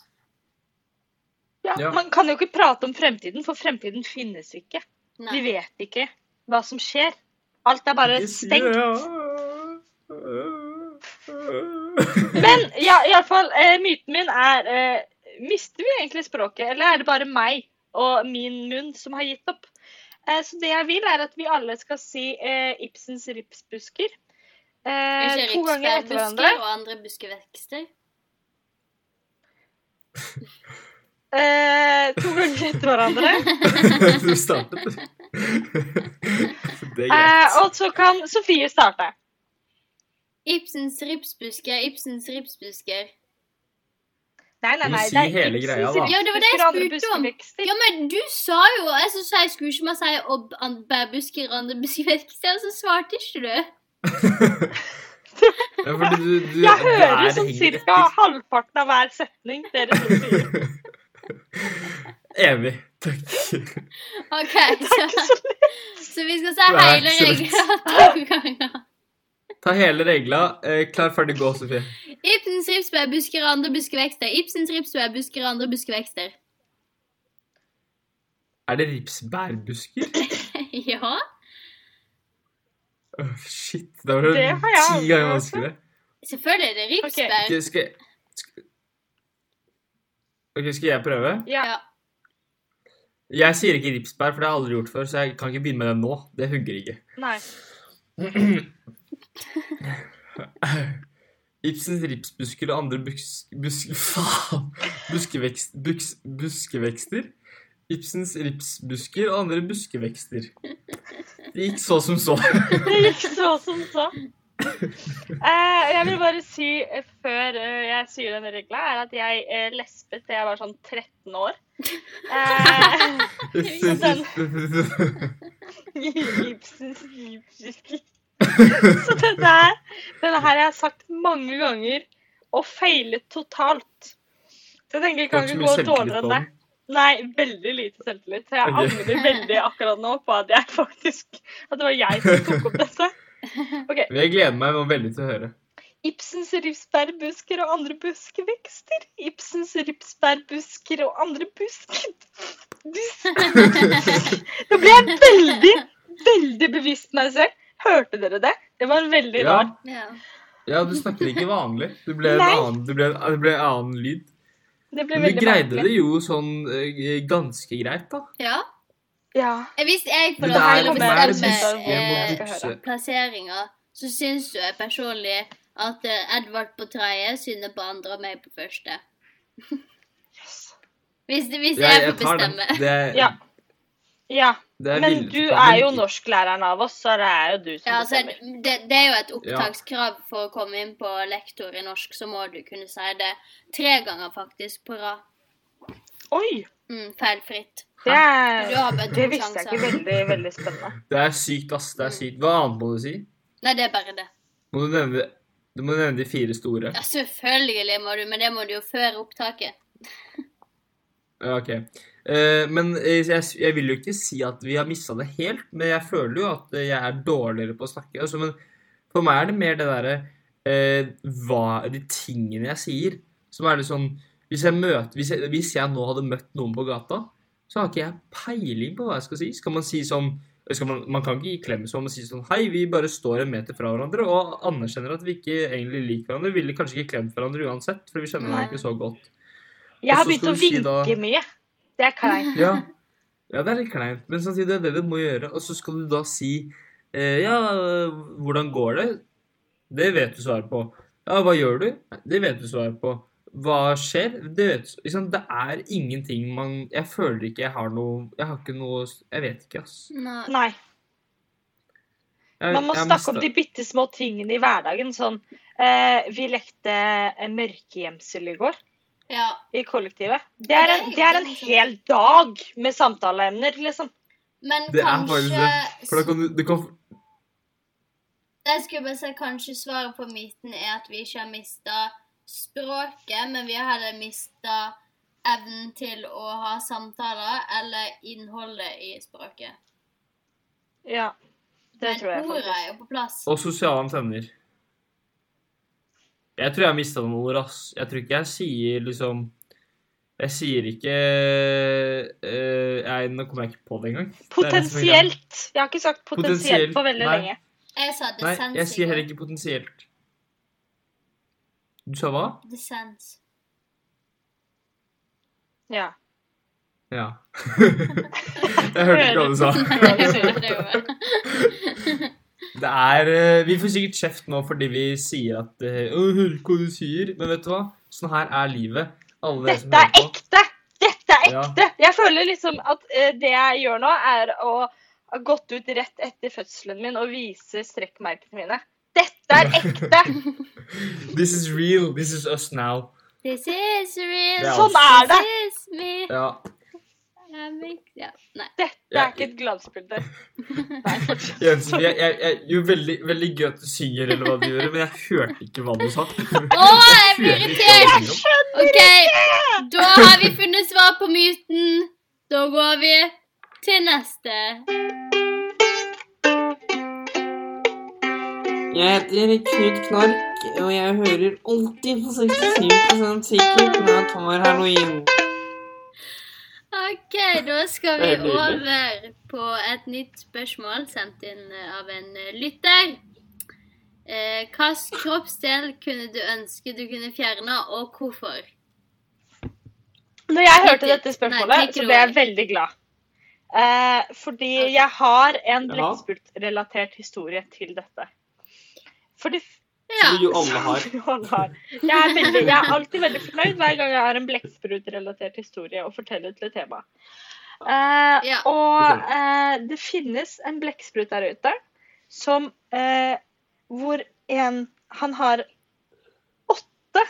Speaker 4: Ja,
Speaker 3: Ja.
Speaker 4: Man kan jo ikke prate om fremtiden, for fremtiden finnes ikke. Vi
Speaker 5: Nei.
Speaker 4: vet ikke hva som skjer. Alt er bare stengt. Men ja, iallfall, eh, myten min er eh, Mister vi egentlig språket, eller er det bare meg og min munn som har gitt opp? Eh, så det jeg vil, er at vi alle skal si eh, Ibsens ripsbusker eh,
Speaker 5: Ikke
Speaker 4: to ganger
Speaker 5: riksbær,
Speaker 4: etter hverandre.
Speaker 5: busker og andre buskevekster.
Speaker 4: Eh, to ganger etter hverandre.
Speaker 3: du startet. det er greit.
Speaker 4: Eh, og så kan Sofie starte.
Speaker 5: Ibsens ripsbusker, Ibsens ripsbusker.
Speaker 4: Nei, nei,
Speaker 3: Du må
Speaker 4: nei.
Speaker 3: si hele greia, da.
Speaker 5: Ja, det var det jeg spurte om.
Speaker 4: om.
Speaker 5: Ja, men du sa jo Jeg så sa jeg skulle ikke man si ob- an- bærbusker, randebusker, vekster, og så svarte ikke du.
Speaker 3: Ja, fordi du, du,
Speaker 4: Jeg
Speaker 3: du
Speaker 4: hører
Speaker 3: er-
Speaker 4: sånn
Speaker 3: henger
Speaker 4: cirka halvparten av hver setning dere to sier.
Speaker 3: etter. Evig. Takk.
Speaker 5: OK, så, så vi skal si
Speaker 3: Det er
Speaker 5: hele
Speaker 3: absolutt.
Speaker 5: regla to ganger.
Speaker 3: Ta hele regla. Eh, klar, ferdig, gå, Sofie.
Speaker 5: Ibsens ripsbær, busker, andre buskevekster. Ibsens ripsbær, busker, andre buskevekster.
Speaker 3: Er det ripsbærbusker?
Speaker 5: ja.
Speaker 3: Åh, shit, det var det
Speaker 4: Det har jeg
Speaker 3: ti
Speaker 4: aldri
Speaker 3: ganger
Speaker 4: hørt
Speaker 3: vanskeligere.
Speaker 5: Selvfølgelig er det ripsbær.
Speaker 3: Ok, skal, jeg- skal, ok, skal jeg prøve?
Speaker 4: Ja.
Speaker 5: Ja.
Speaker 3: Jeg sier ikke ripsbær, for det har jeg aldri gjort før, så jeg kan ikke begynne med det nå. Det hugger ikke.
Speaker 4: Nei.
Speaker 3: Ibsens ripsbusker og andre buks, busk, faen, buskevekst, buks, buskevekster. Ibsens ripsbusker og andre buskevekster. Det gikk så som så.
Speaker 4: Det gikk så som så. Eh, jeg vil bare si eh, før eh, jeg sier den regla, er at jeg eh, lespet da jeg var sånn 13 år. Eh, Ibsens Ibsenske. Så den der, denne her jeg har sagt mange ganger og feilet totalt. Så jeg tenker det
Speaker 3: Får ikke så
Speaker 4: kan ikke
Speaker 3: mye
Speaker 4: gå
Speaker 3: selvtillit
Speaker 4: dårligere
Speaker 3: på
Speaker 4: enn det.
Speaker 3: den.
Speaker 4: Nei, veldig lite selvtillit. Så jeg
Speaker 3: Ok.
Speaker 4: angrer veldig akkurat nå på at jeg faktisk At det var jeg som tok opp dette. OK.
Speaker 3: Men Jeg gleder meg nå veldig til å høre.
Speaker 4: Ibsens ripsbærbusker og andre buskvekster. Ibsens ripsbærbusker og andre busk... busk- Nå ble jeg veldig, veldig bevisst meg selv. Hørte dere det? Det var veldig
Speaker 3: Ja,
Speaker 4: rart.
Speaker 5: Ja.
Speaker 3: ja du snakker ikke vanlig. Du ble en
Speaker 4: Nei.
Speaker 3: annen, du ble en, det ble en annen lyd.
Speaker 4: Det ble
Speaker 3: Men du
Speaker 4: veldig
Speaker 3: greide
Speaker 4: merkelig.
Speaker 3: det jo sånn eh, ganske greit, da.
Speaker 5: ja.
Speaker 4: Ja.
Speaker 5: Eh, Hvis jeg får
Speaker 3: Men det
Speaker 5: lov til
Speaker 3: er
Speaker 5: å
Speaker 4: det er det
Speaker 5: bestemme
Speaker 4: beste
Speaker 5: eh,
Speaker 4: jeg må
Speaker 3: bukse.
Speaker 5: plasseringa, så syns jeg personlig at eh, Edvard på tredje synder på andre og meg på første. Hvis, hvis jeg, får
Speaker 3: tar den.
Speaker 5: bestemme.
Speaker 3: Det er,
Speaker 4: Ja. ja.
Speaker 3: det er
Speaker 4: Men
Speaker 3: villet
Speaker 4: du
Speaker 3: på
Speaker 4: er
Speaker 3: den.
Speaker 4: jo norsklæreren av oss, så det er jo du som
Speaker 5: Ja, altså,
Speaker 4: bestemmer.
Speaker 5: det, det er jo et opptakskrav for å komme inn på lektor i norsk, så må du kunne si det tre ganger faktisk på rad.
Speaker 4: Oi!
Speaker 5: Mm, feilfritt.
Speaker 4: Det,
Speaker 5: Du
Speaker 4: er,
Speaker 5: har bare
Speaker 4: det
Speaker 5: to
Speaker 4: visste jeg ikke.
Speaker 5: sjanser.
Speaker 4: Veldig, veldig spennende.
Speaker 3: Det er sykt, ass. Det er sykt. Hva annet må du si?
Speaker 5: Nei, det er bare det.
Speaker 3: Må du nevne, du må nevne de fire store.
Speaker 5: Ja, selvfølgelig må du, men det må du jo før opptaket.
Speaker 3: Ja, ok. Eh, men eh, jeg, jeg vil jo ikke si at vi har mista det helt, men jeg føler jo at eh, jeg er dårligere på å snakke. Altså, men for meg er det mer det derre eh, hva De tingene jeg sier, som er litt sånn Hvis jeg, møter, hvis, jeg, hvis jeg nå hadde møtt noen på gata, så har ikke jeg peiling på hva jeg skal si. Skal man si sånn skal man, man kan ikke gi klem som og si sånn Hei, vi bare står en meter fra hverandre og anerkjenner at vi ikke egentlig liker hverandre. Vi ville kanskje ikke klemt hverandre uansett, for vi kjenner
Speaker 5: Nei.
Speaker 3: hverandre ikke så godt.
Speaker 4: Jeg
Speaker 3: Og
Speaker 4: har
Speaker 3: så
Speaker 4: begynt
Speaker 3: skal
Speaker 4: å
Speaker 3: du si da-
Speaker 4: vinke mye. Det er kleint.
Speaker 3: Ja. ja, det er litt kleint, men samtidig er det det du må gjøre. Og så skal du da si eh, Ja, hvordan går det? Det vet du svaret på. Ja, hva gjør du? Det vet du svaret på. Hva skjer? Det vet du liksom, Det er ingenting man Jeg føler ikke jeg har noe Jeg har ikke noe Jeg vet ikke, ass.
Speaker 5: Nei.
Speaker 4: Nei.
Speaker 3: Jeg,
Speaker 4: Man må
Speaker 3: jeg
Speaker 4: snakke om
Speaker 3: mista-
Speaker 4: de bitte små tingene i hverdagen. Sånn eh, Vi lekte eh, mørkegjemsel i går
Speaker 5: Ja.
Speaker 4: i kollektivet. Det er en, det er liksom. en hel dag med samtaleemner, liksom.
Speaker 5: Men
Speaker 3: Det er faktisk
Speaker 5: kanskje
Speaker 3: det. For da kan du, du kan,
Speaker 5: Jeg skulle bare si kanskje svaret på myten er at vi ikke har mista språket, men vi har heller mista evnen til å ha samtaler eller innholdet i språket.
Speaker 4: Ja. Det tror jeg
Speaker 5: men ordet er
Speaker 4: faktisk.
Speaker 5: jo på plass.
Speaker 3: Og sosiale antenner. Jeg tror jeg har mista noen ord, ass. Jeg tror ikke jeg sier liksom Jeg sier ikke eh, Nei, nå kommer jeg ikke på det engang. Det er det som er greia.
Speaker 4: Potensielt. Jeg har ikke sagt
Speaker 3: Potensielt,
Speaker 4: potensielt på veldig
Speaker 3: nei.
Speaker 4: lenge.
Speaker 5: Jeg sa
Speaker 3: Nei,
Speaker 5: dissens.
Speaker 3: jeg
Speaker 5: i
Speaker 3: sier
Speaker 5: går.
Speaker 3: heller ikke potensielt. Du sa hva?
Speaker 5: Dissens.
Speaker 4: Ja.
Speaker 3: Ja. jeg hørte ikke hva du sa.
Speaker 5: Nei, jeg gjorde det jo bare.
Speaker 3: Det er eh, Vi får sikkert kjeft nå fordi vi sier at eh, «Å, jeg hører ikke hva du sier. Men vet du hva? Sånn her er livet. Alle dere som
Speaker 4: Dette er
Speaker 3: hører på.
Speaker 4: ekte! Dette er
Speaker 3: Ja.
Speaker 4: ekte! Jeg føler liksom at eh, det jeg gjør nå, er å ha gått ut rett etter fødselen min og vise strekkmerkene mine. Dette er ekte.
Speaker 3: This is real. This is us now.
Speaker 5: This is real.
Speaker 3: Det er
Speaker 4: Sånn er det.
Speaker 5: This is me.
Speaker 3: Ja.
Speaker 5: I'm big- Ja, nei.
Speaker 4: Dette er ikke et glansbilde. Nei, fortsett.
Speaker 3: Jensefie, jeg, jeg, jeg gjorde veldig, veldig gøy at du synger, eller hva du gjorde, men jeg hørte ikke hva du sa.
Speaker 5: Å, jeg blir irritert! OK, da har vi funnet svar på myten. Da går vi til neste.
Speaker 8: Jeg heter Knut Knark, og jeg hører alltid på 67 sikkert når jeg tar halloween.
Speaker 5: OK, da skal vi
Speaker 3: Det er nydelig.
Speaker 5: over på et nytt spørsmål sendt inn eh, av en eh, lytter. Eh, Hvilken kroppsdel kunne du ønske du kunne fjerne, og hvorfor?
Speaker 4: Når jeg hørte
Speaker 5: Nei,
Speaker 4: dette spørsmålet,
Speaker 5: take it
Speaker 4: så ble jeg
Speaker 5: away.
Speaker 4: veldig glad. Eh, fordi jeg har
Speaker 3: Ja.
Speaker 4: en blekkespruttrelatert historie til dette. For det
Speaker 5: Ja.
Speaker 3: Som vi jo alle har.
Speaker 4: Alle har. Jeg er, veldig, jeg er alltid veldig fornøyd hver gang jeg har en blekkspruttrelatert historie å fortelle til et tema. Eh,
Speaker 5: Ja.
Speaker 4: Og eh, det finnes en blekksprut der ute som eh, hvor en Han har åtte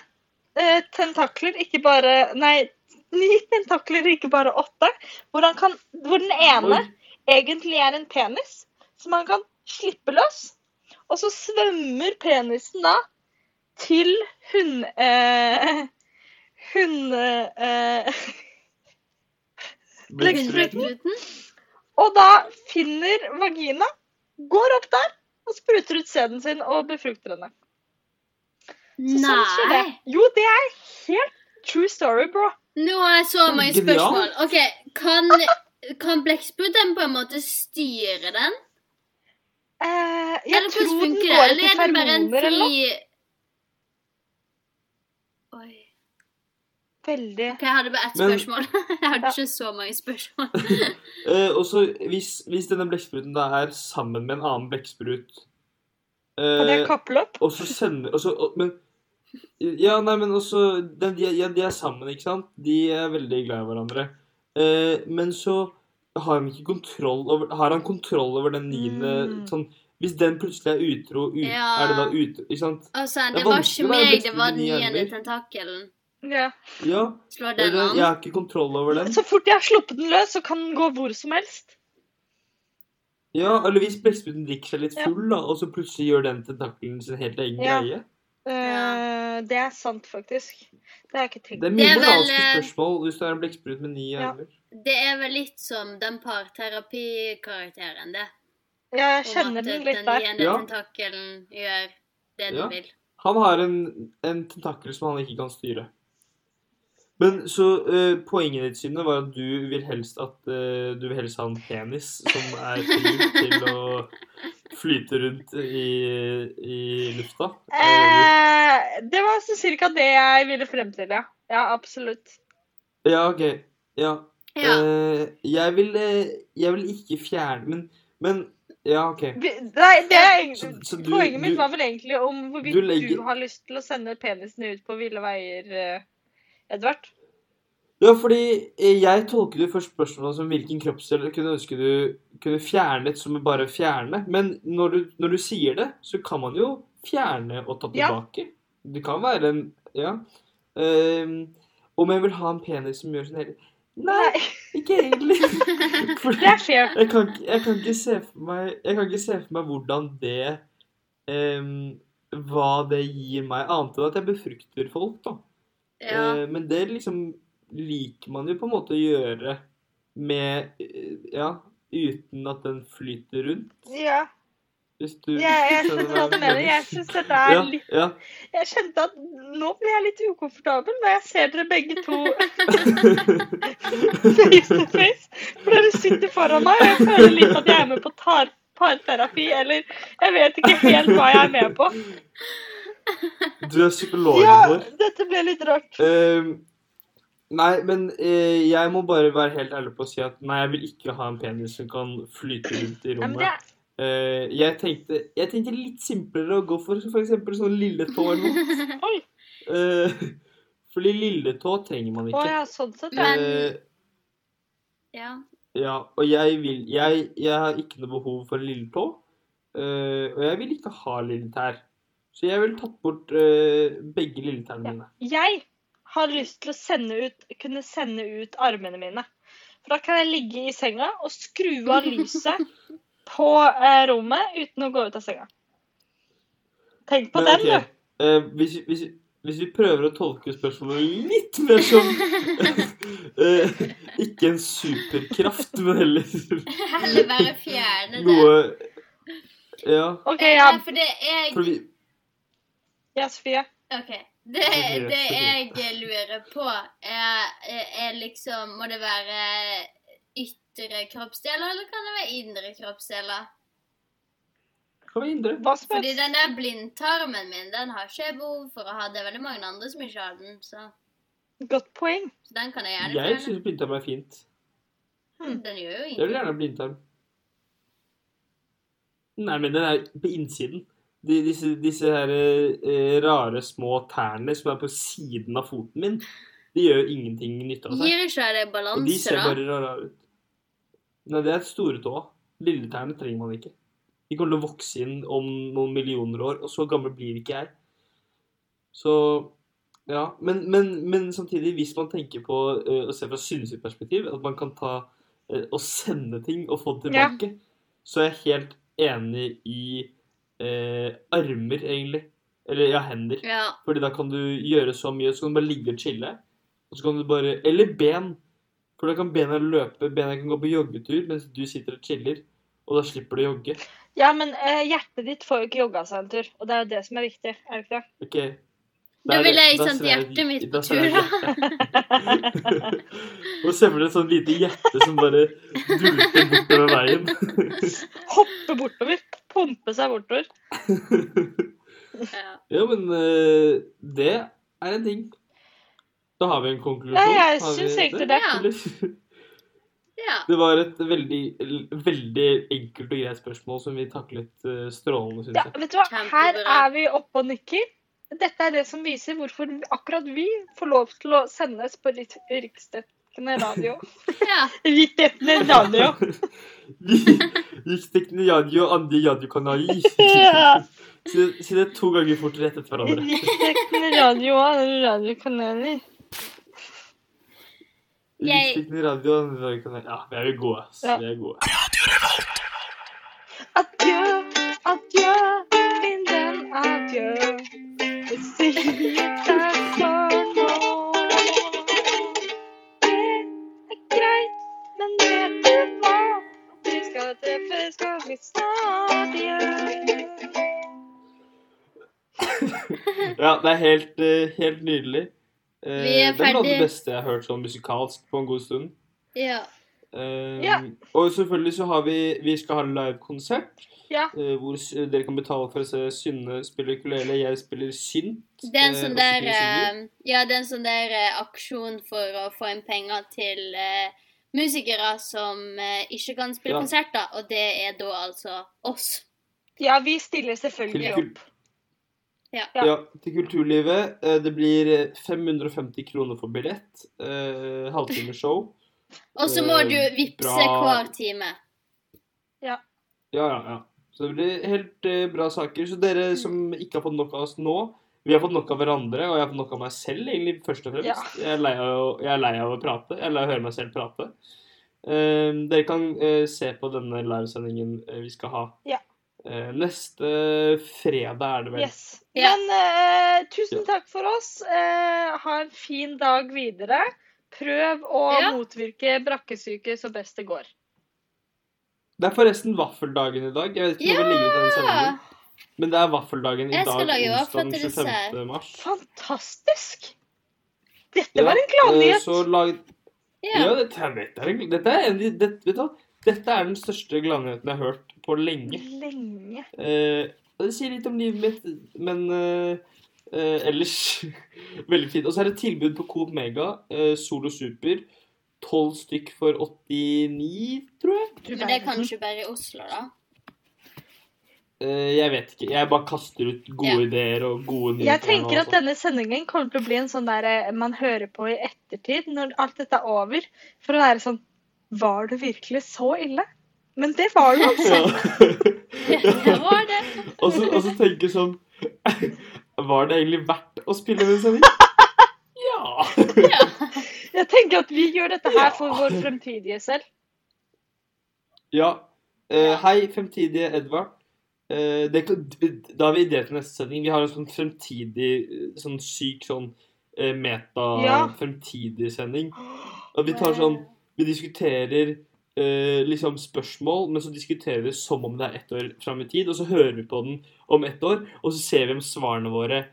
Speaker 4: eh, tentakler, ikke bare Nei, ni tentakler, ikke bare åtte. Hvor, han kan, hvor den ene egentlig er en penis som han kan slippe løs. Og så svømmer penisen da til hund... Eh, hunde... Eh,
Speaker 5: Blekkspruten?
Speaker 4: og da finner vagina, går opp der og spruter ut sæden sin og befrukter henne. Så sånn skjer det.
Speaker 5: Nei.
Speaker 4: Jo, det er helt true story, bro.
Speaker 5: Nå har jeg så mange
Speaker 3: Genialt.
Speaker 5: spørsmål. Ok, Kan, kan blekkspruten på en måte styre den?
Speaker 4: Eh, jeg
Speaker 5: Eller
Speaker 4: tror
Speaker 5: hvordan
Speaker 4: den
Speaker 5: funker det?
Speaker 4: går
Speaker 5: Eller
Speaker 4: til
Speaker 5: er den bare en
Speaker 4: fermoner eller noe.
Speaker 5: fri Oi.
Speaker 4: Veldig.
Speaker 5: Ok, Jeg hadde bare ett
Speaker 3: Men-
Speaker 5: spørsmål. Jeg hadde
Speaker 4: Ja.
Speaker 5: ikke så mange spørsmål.
Speaker 3: Eh, og så hvis, hvis denne blekkspruten da er sammen med en annen blekksprut
Speaker 4: Og det
Speaker 3: eh,
Speaker 4: er kappløp.
Speaker 3: Og så sender og så, og, Men Ja, nei, men også den, de, ja, de er sammen, ikke sant? De er veldig glad i hverandre. Eh, men så har han ikke kontroll over Har han kontroll over den niende
Speaker 4: Mm.
Speaker 3: sånn Hvis den plutselig er utro, ut,
Speaker 5: Ja.
Speaker 3: er det da utro Ikke sant?
Speaker 5: Altså,
Speaker 3: Det er
Speaker 5: det var
Speaker 3: vanskelig
Speaker 5: ikke
Speaker 3: å være
Speaker 5: meg, det var
Speaker 3: blekkspruten
Speaker 5: den
Speaker 3: i
Speaker 5: niende
Speaker 3: hjernen.
Speaker 5: tentakelen.
Speaker 4: Ja.
Speaker 3: Ja.
Speaker 5: Slå den
Speaker 3: Eller, jeg
Speaker 5: an.
Speaker 3: har ikke kontroll over den.
Speaker 4: Så fort jeg har sluppet den løs, så kan den gå hvor som helst.
Speaker 3: Ja, Eller hvis blekkspruten drikker seg litt
Speaker 4: Ja.
Speaker 3: full, da, og så plutselig gjør den tentakelen sin helt egen
Speaker 4: Ja.
Speaker 3: greie.
Speaker 4: Eh, det er sant, faktisk. Det har jeg ikke
Speaker 3: Det
Speaker 4: tenkt på.
Speaker 3: er
Speaker 5: Det
Speaker 3: mye
Speaker 5: er vel,
Speaker 3: moralske
Speaker 5: eh,
Speaker 3: spørsmål hvis du er en blekksprut med ni
Speaker 4: Ja.
Speaker 3: armer.
Speaker 5: Det er vel litt som den parterapikarakteren, det.
Speaker 4: Ja, jeg
Speaker 5: Om
Speaker 4: kjenner
Speaker 5: at
Speaker 4: den
Speaker 5: den
Speaker 4: litt der.
Speaker 5: niende
Speaker 3: Ja.
Speaker 5: tentakelen gjør det den
Speaker 3: Ja.
Speaker 5: vil.
Speaker 3: Han har en, en tentakel som han ikke kan styre. Men så eh, poenget ditt, Synne, var at du vil helst at eh, du vil helst ha en penis som er fri til å flyte rundt i, i lufta. Eh,
Speaker 4: Eh, det var sånn cirka det jeg ville frem til, ja. Ja, absolutt.
Speaker 3: ja, OK. Ja.
Speaker 5: Ja.
Speaker 3: Eh, jeg vil eh, Jeg vil ikke fjerne Men, men ja, OK.
Speaker 4: Vi- Nei, det er
Speaker 3: Så,
Speaker 4: egentlig
Speaker 3: så du,
Speaker 4: Poenget mitt
Speaker 3: du,
Speaker 4: var vel egentlig om hvorvidt
Speaker 3: du
Speaker 4: du,
Speaker 3: legger-
Speaker 4: har lyst til å sende penisen ut på ville veier, eh, Edvard.
Speaker 3: Ja, fordi eh, jeg tolket jo først spørsmålet som hvilken kroppsdel du kunne ønske du kunne fjernet som bare fjerne. Men når du, når du sier det, så kan man jo fjerne og ta
Speaker 4: Ja.
Speaker 3: tilbake. Det kan være en Ja. Ehm, om jeg vil ha en penis som gjør sånn hele Nei, ikke egentlig. Fordi
Speaker 4: Det er fair.
Speaker 3: jeg kan, ikke- jeg, kan ikke se for meg, jeg kan ikke se for meg hvordan det ehm, Hva det gir meg, annet enn at jeg befrukter folk, da.
Speaker 5: Ja.
Speaker 3: Eh, Men det liksom liker man jo på en måte å gjøre med eh, Ja, uten at den flyter rundt.
Speaker 4: Ja,
Speaker 3: Hvis du
Speaker 4: jeg, jeg
Speaker 3: skjønner
Speaker 4: skjønner hva du mener. Jeg synes dette er
Speaker 3: Ja,
Speaker 4: litt
Speaker 3: ja.
Speaker 4: Jeg kjente at nå ble jeg litt ukomfortabel når jeg ser dere begge to face to face. For dere sitter foran meg, og jeg føler litt at jeg er med på tar parterapi, eller jeg vet ikke helt hva jeg er med på.
Speaker 3: Du er psykologen
Speaker 4: Ja,
Speaker 3: vår.
Speaker 4: dette ble litt rart.
Speaker 3: Eh, nei, men eh, jeg må bare være helt ærlig på å si at nei, jeg vil ikke ha en penis som kan flyte rundt i
Speaker 4: Ja, men det
Speaker 3: rommet.
Speaker 4: er
Speaker 3: Eh, jeg, tenkte, jeg tenkte litt simplere å gå for f.eks. sånn lilletå eller noe.
Speaker 4: Oi.
Speaker 3: Eh, fordi lilletå trenger man
Speaker 4: Å
Speaker 3: ikke.
Speaker 4: ja, sånn sett, ja.
Speaker 5: Men-
Speaker 3: Eh,
Speaker 5: ja.
Speaker 3: Ja, og jeg vil Jeg, jeg har ikke noe behov for en lille tå. eh, og jeg vil ikke ha lille tær. Så jeg ville tatt bort eh, begge lilletærne
Speaker 4: Ja.
Speaker 3: mine.
Speaker 4: Jeg har lyst til å sende ut, kunne sende ut armene mine. For da kan jeg ligge i senga og skru av lyset på eh, rommet uten å gå ut av senga. Tenk på
Speaker 3: Men,
Speaker 4: den,
Speaker 3: ok, eh, hvis, hvis, hvis vi prøver å tolke spørsmålet litt mer som eh, Ikke en superkraft, men heller
Speaker 5: Heller bare fjerne det.
Speaker 3: noe Ja,
Speaker 4: du. OK, ja.
Speaker 5: Ja, for det jeg
Speaker 3: for vi
Speaker 4: ja Sofie.
Speaker 5: OK. Det,
Speaker 3: Sorry,
Speaker 5: det
Speaker 3: sorry.
Speaker 5: jeg lurer på, er, er liksom Må det være ytre kroppsdeler, eller kan det være indre kroppsdeler?
Speaker 3: kan vi hindre.
Speaker 4: Hva
Speaker 5: Fordi
Speaker 4: spørs?
Speaker 5: den der blindtarmen min, den har ikke jeg behov for å ha. Det er veldig mange andre som ikke har den, så,
Speaker 4: Godt poeng.
Speaker 5: så den kan jeg gjerne
Speaker 3: Jeg
Speaker 5: fjerne.
Speaker 3: syns blindtarm er fint.
Speaker 5: Den gjør jo
Speaker 3: Jeg vil
Speaker 5: ingenting.
Speaker 3: gjerne ha blindtarm. Nei, men den er på innsiden. De, disse disse her, eh, rare små tærne som er på siden av foten min, de gjør jo ingenting nytte av seg.
Speaker 5: Gir ikke det
Speaker 3: Og de
Speaker 5: balanse,
Speaker 3: ser
Speaker 5: da?
Speaker 3: bare rare ut. Nei, det er storetåa. Lilletærne trenger man ikke. De kommer til å vokse inn om noen millioner år, og så gammel blir ikke jeg. Så ja. Men, men, men samtidig, hvis man tenker på eh, å se fra synsitt perspektiv, at man kan ta eh, og sende ting og få det
Speaker 4: Ja.
Speaker 3: tilbake, så er jeg helt enig i eh, armer, egentlig. Eller ja, hender.
Speaker 5: Ja.
Speaker 3: Fordi da kan du gjøre så mye, så kan du bare ligge og chille. Og så kan du bare Eller ben. For da kan bena løpe, bena kan gå på joggetur mens du sitter og chiller. Og da slipper du å jogge.
Speaker 4: Ja, men eh, hjertet ditt får jo ikke jogga seg en tur, og det er jo det som er viktig. er det ikke det?
Speaker 3: OK. Der,
Speaker 5: Da ville jeg
Speaker 3: da
Speaker 5: sendt
Speaker 3: ser jeg-
Speaker 5: hjertet mitt på
Speaker 3: da ser jeg
Speaker 5: tur, da.
Speaker 3: hjertet. Og så blir det et sånt lite hjerte som bare dulter bortover veien.
Speaker 4: Hoppe bortover. Pumpe seg bortover.
Speaker 5: ja.
Speaker 3: Ja, men eh, det er en ting. Da har vi en konklusjon.
Speaker 4: Ja, Eh, jeg
Speaker 3: Har vi
Speaker 4: syns egentlig
Speaker 5: Ja.
Speaker 3: eller?
Speaker 5: ja.
Speaker 3: Det var et veldig, veldig enkelt og greit spørsmål som vi taklet eh, strålende, syns
Speaker 4: Ja,
Speaker 3: jeg.
Speaker 4: vet du hva? Her
Speaker 5: Kjempebra.
Speaker 4: er vi oppe og nikker. Dette er det som viser hvorfor akkurat vi får lov til å sendes på litt riksdekkende radio.
Speaker 5: ja.
Speaker 4: Riksdekkende radio.
Speaker 3: Vi gikk til radio og andre radiokanal.
Speaker 4: Ja.
Speaker 3: Si si det to ganger fort rett etter hverandre.
Speaker 4: Riksdekkende radio og andre radiokanaler.
Speaker 5: Jeg-
Speaker 3: Gikk til radio og andre radiokanal. Ja, vi er jo gode. ass.
Speaker 4: Ja.
Speaker 3: Vi er gode.
Speaker 4: Adjø, adjø, min venn, adjø. Jeg sier takk for nå. Det er greit, men vet du hva? Vi skal treffes ganske snart igjen.
Speaker 3: Ja, det er helt, eh, helt nydelig. Eh,
Speaker 5: Vi er
Speaker 3: Det er noe av
Speaker 5: ferdig.
Speaker 3: det beste jeg har hørt sånn musikalsk på en god stund.
Speaker 5: ja.
Speaker 3: Eh,
Speaker 4: Ja.
Speaker 3: Og selvfølgelig så har vi Vi skal ha livekonsert.
Speaker 4: Ja.
Speaker 3: eh, hvor s- dere kan betale for å se Synne spille ukulele, jeg spiller synt.
Speaker 5: Det er en
Speaker 3: eh,
Speaker 5: sånn
Speaker 3: og
Speaker 5: der
Speaker 3: spiller synger.
Speaker 5: eh, Ja, det er en sånn der eh, aksjon for å få inn penger til eh, musikere som eh, ikke kan spille
Speaker 3: Ja.
Speaker 5: konserter, og det er da altså oss.
Speaker 4: Ja, vi stiller
Speaker 5: eh,
Speaker 3: Til
Speaker 4: selvfølgelig
Speaker 3: kul-
Speaker 4: opp.
Speaker 3: Ja. til kulturlivet. Eh, Det blir eh, 550 kroner for billett. Eh, Halvtimeshow.
Speaker 5: Og så må
Speaker 3: Eh,
Speaker 5: du vippse
Speaker 3: bra.
Speaker 5: hver time.
Speaker 3: Ja, ja, ja. Så det blir helt eh, bra saker. Så dere som ikke har fått nok av oss nå Vi har fått nok av hverandre, og jeg har fått nok av meg selv, egentlig, først og fremst. Jeg, er lei av, å- jeg er lei av å prate. Jeg er lei av å høre meg selv prate. Eh, dere kan eh, se på denne livesendingen eh, vi skal ha.
Speaker 4: Ja.
Speaker 3: Eh, neste fredag er det vel.
Speaker 4: Yes.
Speaker 5: Ja.
Speaker 4: Men eh, tusen takk for oss. Eh, ha en fin dag videre. Prøv å
Speaker 5: Ja.
Speaker 4: motvirke brakkesyke så best det går.
Speaker 3: Det er forresten vaffeldagen i dag. Jeg vet ikke om vi legger ut den sendingen. Men det er vaffeldagen i
Speaker 5: Jeg
Speaker 3: dag,
Speaker 5: skal lage
Speaker 3: onsdag
Speaker 5: vafler
Speaker 3: den
Speaker 5: til
Speaker 3: 25.
Speaker 5: dessert.
Speaker 3: mars.
Speaker 4: Fantastisk! Dette
Speaker 3: Ja,
Speaker 4: var en
Speaker 3: eh,
Speaker 4: gladnyhet.
Speaker 3: Så lag...
Speaker 5: Ja.
Speaker 3: Ja, dette, er- dette, er, en- dette, er, en- det, vet du, hva? dette er den største gladnyheten jeg har hørt på lenge.
Speaker 4: Lenge.
Speaker 3: Eh, og det sier litt om livet mitt, men eh, eh, ellers veldig fint. Og så er det tilbud på Coop Mega, eh, Solo Super. 12 stykk for 89, tror jeg.
Speaker 4: Du
Speaker 5: Men det er
Speaker 4: verden.
Speaker 5: kanskje bare i Oslo, da.
Speaker 3: Eh, jeg vet ikke. Jeg bare kaster ut gode ideer og gode nyheter.
Speaker 4: Jeg
Speaker 3: her nå,
Speaker 4: tenker
Speaker 3: altså.
Speaker 4: at denne sendingen kommer til å bli en sånn der eh, man hører på i ettertid, når alt dette er over, for å være sånn Var det virkelig så ille? Men det var det altså.
Speaker 3: Ja.
Speaker 5: Det var det.
Speaker 3: og, så, og så tenke sånn Var det egentlig verdt å spille den sendingen? Ja.
Speaker 4: Jeg tenker at vi gjør dette her for vår fremtidige selv.
Speaker 3: Ja. Eh, hei, fremtidige Edvard. Eh, det, da har vi idé til neste sending. Vi har en sånn fremtidig, eh, sånn syk sånn eh,
Speaker 4: Ja.
Speaker 3: meta-fremtidig sending. Og vi tar sånn Vi diskuterer eh, liksom spørsmål, men så diskuterer vi som om det er ett år fram i tid. Og så hører vi på den om ett år, og så ser vi om svarene våre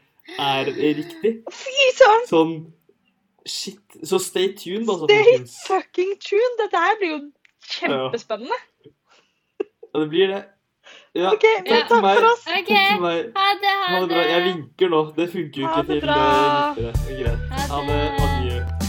Speaker 3: er riktig.
Speaker 4: Fy søren!
Speaker 3: Sånn Shit. Så stay tuned, altså,
Speaker 4: Stay
Speaker 3: folkens.
Speaker 4: fucking tuned! Dette her blir jo kjempespennende.
Speaker 3: Ja, det blir det. Ja,
Speaker 4: OK, men
Speaker 3: takk
Speaker 4: takk
Speaker 3: for meg.
Speaker 4: for oss.
Speaker 5: OK.
Speaker 3: Takk for meg.
Speaker 5: Ha det,
Speaker 3: Ha det bra. Jeg vinker nå. Det funker jo
Speaker 4: Ha
Speaker 3: ikke
Speaker 4: det
Speaker 3: til
Speaker 4: bra.
Speaker 3: eh, lyttere. Greit. Ha det. Adjø.